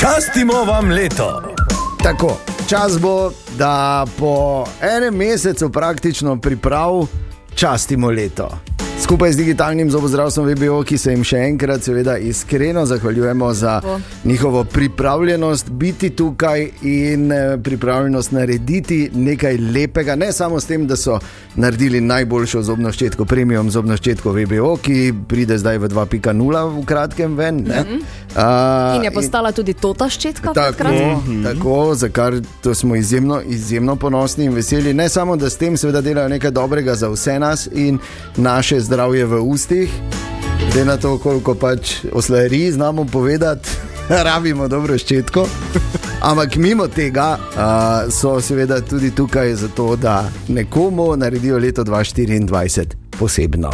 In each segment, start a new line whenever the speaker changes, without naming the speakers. Častimo vam leto.
Tako, čas bo, da po enem mesecu praktično priprav častimo leto. Skupaj z digitalnim zobozdravstvom VBO, ki se jim še enkrat, seveda, iskreno zahvaljujemo za
Tako.
njihovo pripravljenost biti tukaj in eh, pripravljenost narediti nekaj lepega. Ne samo s tem, da so naredili najboljšo zobno ščetko, premium zobno ščetko VBO, ki pride zdaj v 2.0 v kratkem ven. Mm -hmm. uh,
Mhm. In je postala tudi to ta ščetka,
Tako, mhm.
kratko.
tako, za kar to smo izjemno, izjemno ponosni in veseli. Ne samo, da s tem seveda delajo nekaj dobrega za vse nas in naše zdravje v ustih, glede na to, koliko pač oslari znamo povedati, rabimo dobro ščetko. Ampak mimo tega uh, so seveda tudi tukaj zato, da nekomu naredijo leto 2024 posebno.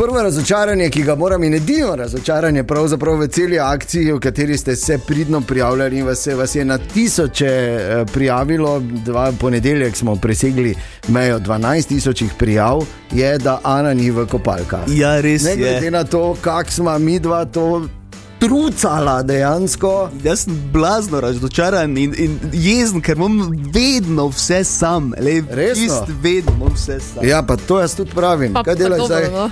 Prvo razočaranje, ki ga moram in edino razočaranje, pravzaprav v celi akciji, v kateri ste se pridno prijavljali in vas, je- vas je na tisoče eh, prijavilo, dva ponedeljek smo presegli mejo 12 tisočih prijav, je, da Ana ni v kopalkah.
Ja, res
Ne glede
je.
na to, kako smo mi dva to trucala dejansko.
Jaz sem blazno razočaran in, in jezen, ker imam vedno vse sam. Le,
Resno?
čist vedno imam vse sam.
Ja, pa to jaz tudi pravim.
Pa-
Kaj
pa
delaš
dobro,
zdaj?
no.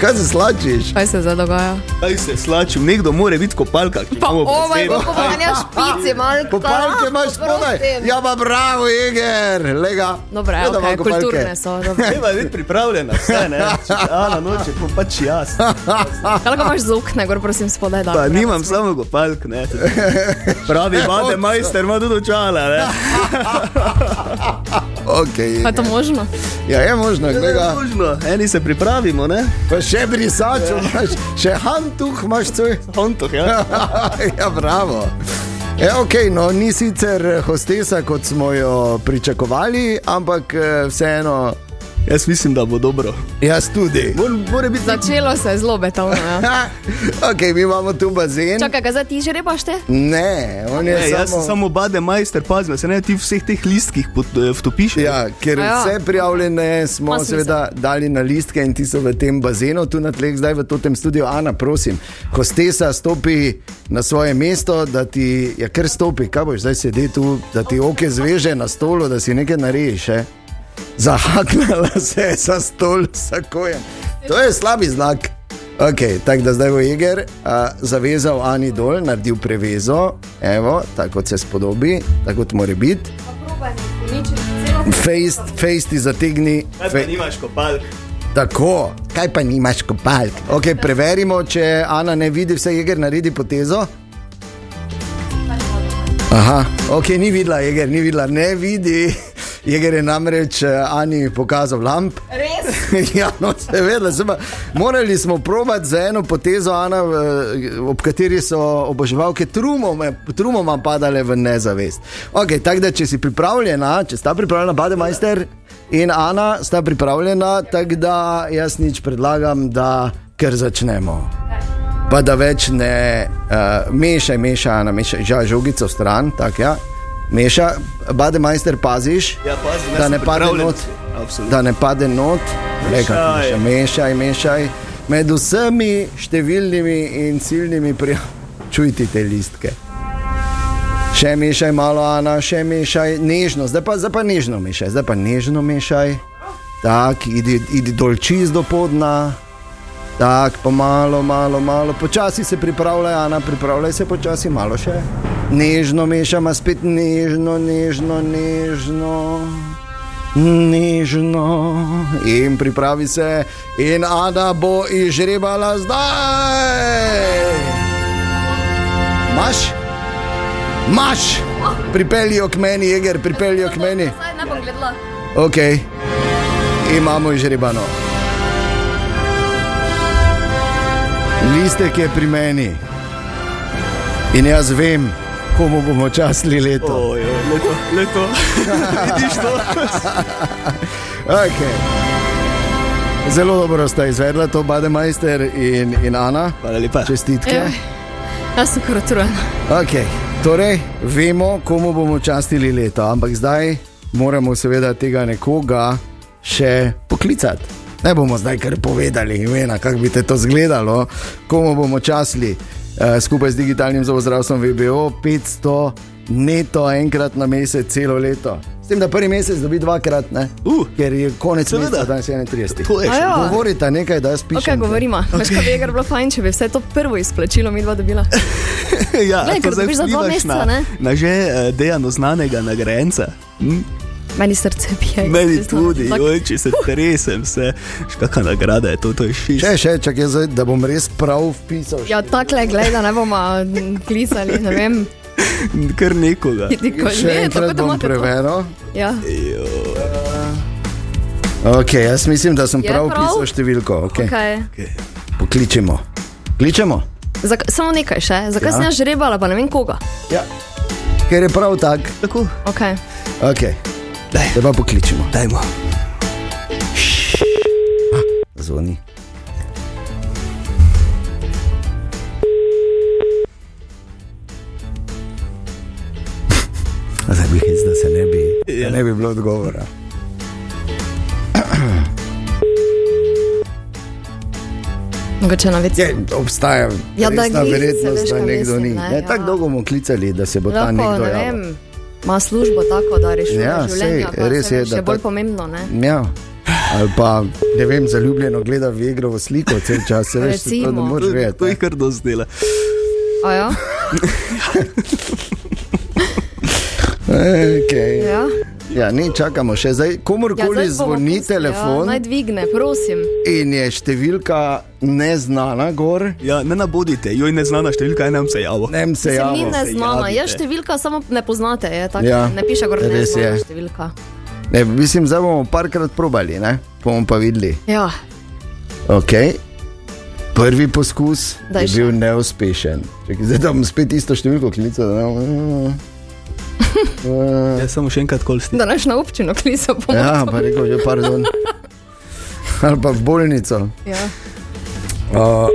Kaj se slačiš?
Kaj se zdaj dogaja?
Kaj se slačim, nekdo mora biti kopalka.
Pa oh ovaj, kako poganja špici, malo
Kopalke imaš spodaj. Ja, pa bravo, Eger, lega.
Dobro, ja,
Gleda
okay,
vam kopalke.
kulturne so. dobro.
Treba biti pripravljena, vse ne. Če Ana noče, pa pač jaz.
Kaj lahko imaš z okna, gor prosim, spodaj da.
Pa nimam samo kopalk, ne. Pravi, vade majster, ima tudi očala, ne.
Okay.
Pa je to možno?
Ja, je možno, gleda.
Možno, eni se pripravimo, ne.
Pa še brisač imaš, še hantuh imaš, cuj.
Hontoh, ja.
ja, bravo. E, okay, no, ni sicer hostesa, kot smo jo pričakovali, ampak eh, vseeno,
Jaz mislim, da bo dobro.
jaz tudi.
Mor- Mora biti
Začelo se je zelo betovno. Ja.
okay, mi imamo tu bazen.
Čakaj, ga zdaj ti že rebaš te?
Ne, on je
Ne, jaz sem
samo.
samo bade majster, pazi, me, se ne ti vseh teh listkih pod, eh, vtopiš.
Ja, ker
A
ja.
ja.
vse prijavljene smo
Ma smisel.
seveda dali na listke in ti so v tem bazenu, tu na tleh, zdaj v tem studiu. Ana, prosim, ko stesa stopi na svoje mesto, da ti je ja, kar stopi, kaj boš zdaj sedel tu, da ti oke zveže na stolu, da si nekaj narediš. Eh? Zahaknila se je za stol, tako je. To je slabi znak. Okay, tako da zdaj bo Jeger uh, zavezal Ani dol, naredil prevezo, evo, tako kot se spodobi, tako kot mora biti. Face, face ti zategni.
Kaj pa
Fe,
nimaš kopalk?
tako, kaj pa nimaš kopalk? Okay, preverimo, če Ana ne vidi vse, jeger naredi potezo. Aha, ok, ni videla, jeger, ni videla, ne vidi. Jeger je namreč eh, Ani pokazal lamp. Res? ja, no, seveda, seba. morali smo probati za eno potezo, Ana, v- ob kateri so oboževalke trumoma, trumoma padale v nezavest. Ok, tako da če si pripravljena, če sta pripravljena, Bade Majster in Ana, sta pripravljena, tako da jaz nič predlagam, da kar začnemo pa da več ne uh, mešaj, mešaj, Ana, mešaj, ža, žogico stran, tako ja. Meša, bade majster, paziš,
Ja, pazi,
da ne pade not,
Absolutno.
da ne pade not, Lega,
Mešaj.
mešaj, mešaj, mešaj. Med vsemi številnimi in ciljnimi prijavami čujte te listke. Še mešaj malo, Ana, še mešaj nežno, zdaj pa, zdaj pa nežno mešaj, zdaj pa nežno mešaj. Tako, idi, idi dol čist do podna. Tako, pomalo, malo, malo, počasi se pripravljaj, Ana, pripravljaj se počasi, malo še. Nežno mešamo, spet nežno, nežno, nežno. Nežno in pripravi se, in Ada bo izžrebala zdaj. Maš, maš, pripeljijo k meni, jeger, pripeljijo k meni.
Zdaj ne bom gledala.
Ok, imamo izžrebano. Listek je pri meni in jaz vem, komu bomo časli leto.
Oj, oj, leto, leto. Vidiš to?
Okay. Zelo dobro sta izvedla to, Bademajster in, in Ana.
Hvala lepa.
Čestitke.
Ej. Jaz sem kar utrujen.
Okay. Torej, vemo, komu bomo častili leto, ampak zdaj moramo seveda tega nekoga še poklicati. Ne bomo zdaj kar povedali imena, kako bi te to izgledalo, komu bomo časli. Eh, Skupaj z digitalnim zobozdravstvom VBO 500 neto enkrat na mesec, celo leto. S tem, da prvi mesec dobi dvakrat, ne?
Uh,
ker je konec
seveda.
meseca, danes je 31.
To je še.
Ajo.
Govorite nekaj, da jaz pišem.
Ok, govorimo. Veš, kaj bi je bilo fajn, če bi vse to prvo izplačilo mi dva dobila.
Ja,
Glej,
to
ker
zdaj
dobiš za dva
vplivaš
meseca,
na,
ne?
na že eh, dejano znanega nagrajenca. Hm?
Meni srce bije.
Meni
priznam.
tudi,
Tako-
joj, če se tresem, se. Še kakšna nagrada je to, to je šest.
Še, še, čakaj, zdaj, da bom res prav vpisal.
Ja, takle, gledaj, da ne bomo m, klicali, ne vem.
Kar nekoga.
Nikoli
še
ne, tako
enkrat
da
bom
imate to.
preveril.
Ja.
Okay, jaz mislim, da sem
Je
prav
prav?
vpisal številko. Okay. Okay.
Okay.
Pokličemo. Kličemo?
Zak, samo nekaj še, zakaj
Ja.
ja. sem jaz žrebala, pa ne vem koga.
Ja. Ker je prav tak.
Tako,
Okay.
Okay.
Daj.
Zdaj pa pokličemo.
dajmo.
Zvoni. Zdaj bi hec, da se ne bi, da
Ja.
ne bi bilo odgovora.
Mogoče na več.
Je, obstaja
Ja, da
resna
glice,
verjetnost,
veš,
da
kaj
nekdo
mislim,
ni.
ne,
Ne,
ja.
Tako dolgo bomo klicali, da se bo ta
Lahko,
nekdo
ne
javil.
vem, ima službo tako, da rešuje
Ja,
življenje.
sej, res je, da
še bolj
tak-
pomembno. Ne?
Ja. Ali pa ne vem, zaljubljeno gleda v igrovo sliko cel čas, se veš, se to ne
Recimo.
moreš
To, to
vedeti.
jih kar dosti dela.
A Ja,
Okay.
ja.
Ja, ne, čakamo še zdaj.
Ja,
Komorkoli
zdaj
ja,
bomo
zvoni
pustili,
telefon
Ja, naj dvigne, prosim.
in je številka neznana, gor,
Ja, ne nabodite, joj neznana številka je nam se javila.
ne se
Se ni
javi.
neznana,
javite.
je številka, samo ne poznate. Je, tako,
Ja,
ne piše gor, ne
res je.
številka.
Ne, mislim, zdaj bomo parkrat probali, ne? bomo pa videli.
Ja,
Okay. Prvi poskus
Daj
Daj je
še.
bil neuspešen. Čekaj, zdaj bom spet isto številko klical. da ne bom-
Ja, samo še enkrat kolsti.
da naš na občino klica pomoč.
Ja, pa rekel že, pardon. Ali pa v bolnico.
Ja.
Uh,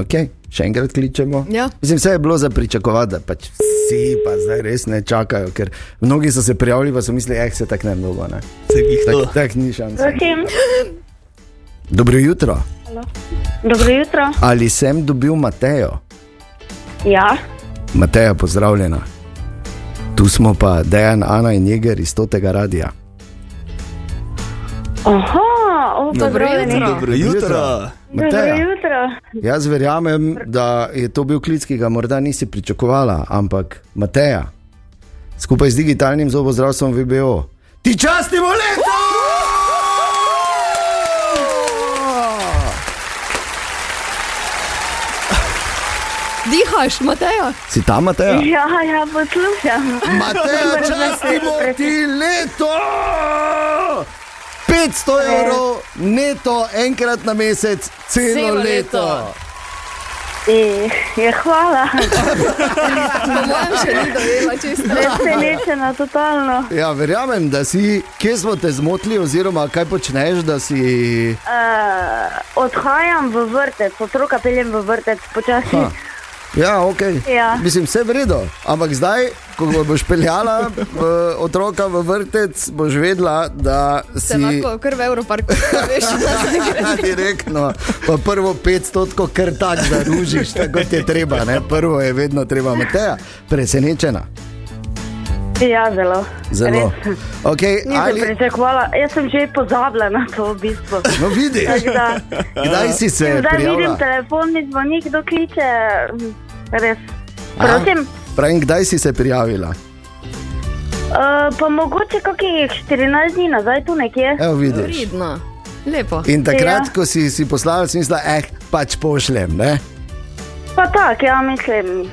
ok, še enkrat kličemo.
Ja.
Mislim, vse je bilo za pričakovati, da pač vsi pa zdaj res ne čakajo, ker mnogi so se prijavili, pa so mislili, da se tako ne mnogo. Ne?
Se jih to.
Tak, tak ni šanse.
Prosim,
Dobro jutro.
dobro jutro.
Ali sem dobil Matejo?
Ja,
Mateja, pozdravljena. Tu smo pa Dejan, Ana in Jeger iz tega radia.
aha, o,
Dobro
pozdravljeni.
jutro.
Dobro jutro.
jutro.
Dobro
Mateja,
jutro.
jaz verjamem, da je to bil klic, ki ga morda nisi pričakovala, ampak Mateja, skupaj z digitalnim zobozdravstvom VBO, ti častimo leto!
Dihaš, Mateja.
Si tam, Mateja?
Ja, ja, poslušam.
Mateja, častimo ti leto! 500 evrov neto, enkrat na mesec, celo
Celo leto.
leto.
E, ja, hvala,
Po mojem še ni dojela čisto.
presenečena totalno.
Ja, verjamem, da si, kje smo te zmotili, oziroma kaj počneš, da si.
Uh, odhajam v vrtec, otroka peljem v vrtec počasi.
Ha. Ja, ok.
Ja.
Mislim, vse v redu, ampak zdaj, ko ga boš peljala v otroka v vrtec, boš vedela, da si
Se lahko kar v Evroparku, veš, da se ne gre.
direktno, No, pa prvo 500, ker tako zaružiš, tako kot je treba. Ne? Prvo je vedno treba, Mateja, presenečena.
Ja, zelo.
Zelo.
Res.
Okay,
Nisem Ali...
ali,
pričakovala, jaz sem že pozabila na to v bistvu.
no, vidiš,
Tako da,
kdaj si se
zdaj vidim
prijavila?
telefon, mi zvonik, kdo kliče. Res.
A?
Prosim.
Pravim, kdaj si se prijavila?
Uh, pa mogoče kakih 14 dni nazaj tu nekje.
Evo, vidiš.
Pridno, lepo.
In takrat, ja.
Ja.
ko si, si poslala, si mislila, eh, pač pošljem. Ne?
Pa tak, ja mislim.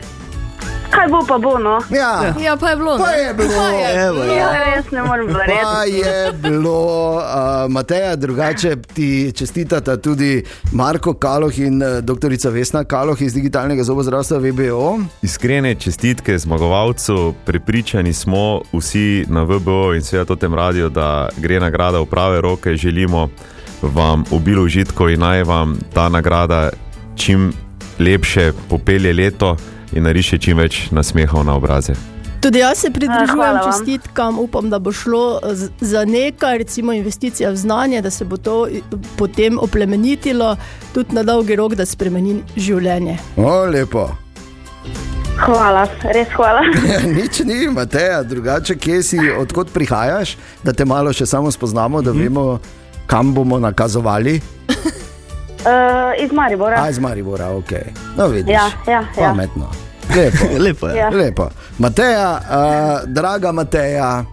Kaj bo pa bo, no?
Ja,
Ja, pa je bilo.
pa
ne?
je bilo.
Pa je
Evo, ja.
Ja, res ne morem
Pa
verjeti.
je bilo, uh, Mateja, drugače ti čestitata tudi Marko Kaloh in uh, dr. Vesna Kaloh iz digitalnega zobozdravstva VBO.
Iskrene čestitke zmagovalcu, prepričani smo vsi na VBO in seveda to tem radijo, da gre nagrada v prave roke. Želimo vam obilo užitko in naj vam ta nagrada čim lepše popelje leto in nariše čim več nasmehov na obraze.
Tudi jaz se
Ah, Hvala
pridružujem
vam.
čestitkam, upam, da bo šlo eh, z- za nekaj, recimo investicija v znanje, da se bo to i- potem oplemenitilo, tudi na dolgi rok, da spremeni življenje.
O, lepo.
Hvala, res hvala.
Nič ni, Mateja, drugače, kje si, odkot prihajaš, da te malo še samo spoznamo,
Mhm.
da vemo, kam bomo nakazovali.
Uh, iz Maribora.
A iz Maribora, ok. No, vidiš.
Ja, ja, ja.
Pametno. Lepo.
Lepo je.
Ja.
Lepo. Mateja, uh, draga Mateja,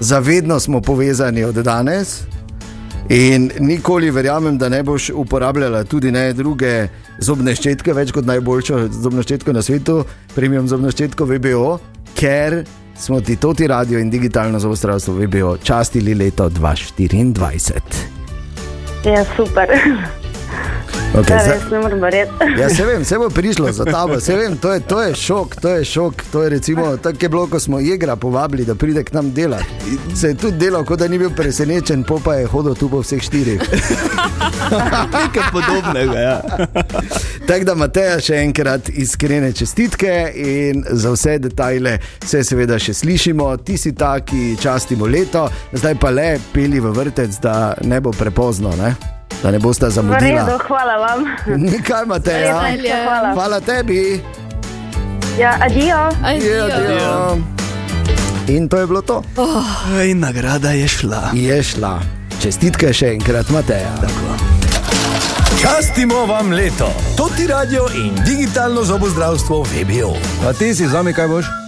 zavedno smo povezani od danes. In nikoli verjamem, da ne boš uporabljala tudi ne druge zobne ščetke, več kot najboljšo zobno ščetko na svetu, premium zobno ščetko VBO, ker smo ti to ti radio in digitalno zobozdravstvo VBO častili leto 2024.
Ja, super.
Okay,
Ja,
zdaj-
res ne morem verjeti.
Ja, se vem, se bo prišlo za tabo, se vem, to je, to je šok, to je šok. To je recimo tako je bilo, ko smo igra povabili, da pride k nam delati. Se je tudi delal, kot da ni bil presenečen, po pa je hodil tu po vseh štirih.
Nekaj podobnega. Ja.
Tako da, Mateja, še enkrat iskrene čestitke in za vse detajle se seveda še slišimo. Ti si ta, ki častimo leto, zdaj pa le peli v vrtec, da ne bo prepozno, ne? da ne boste
V redu,
zamudili.
hvala vam.
Nikaj, Mateja.
Veselje.
Hvala.
Hvala tebi.
Ja, adijo.
Adijo,
Ja,
adijo. In to je bilo to.
Aj, nagrada je šla.
Je šla. Čestitke še enkrat, Mateja.
Častimo vam leto. To ti radio in digitalno zobozdravstvo VBO. A ti si zame kaj boš?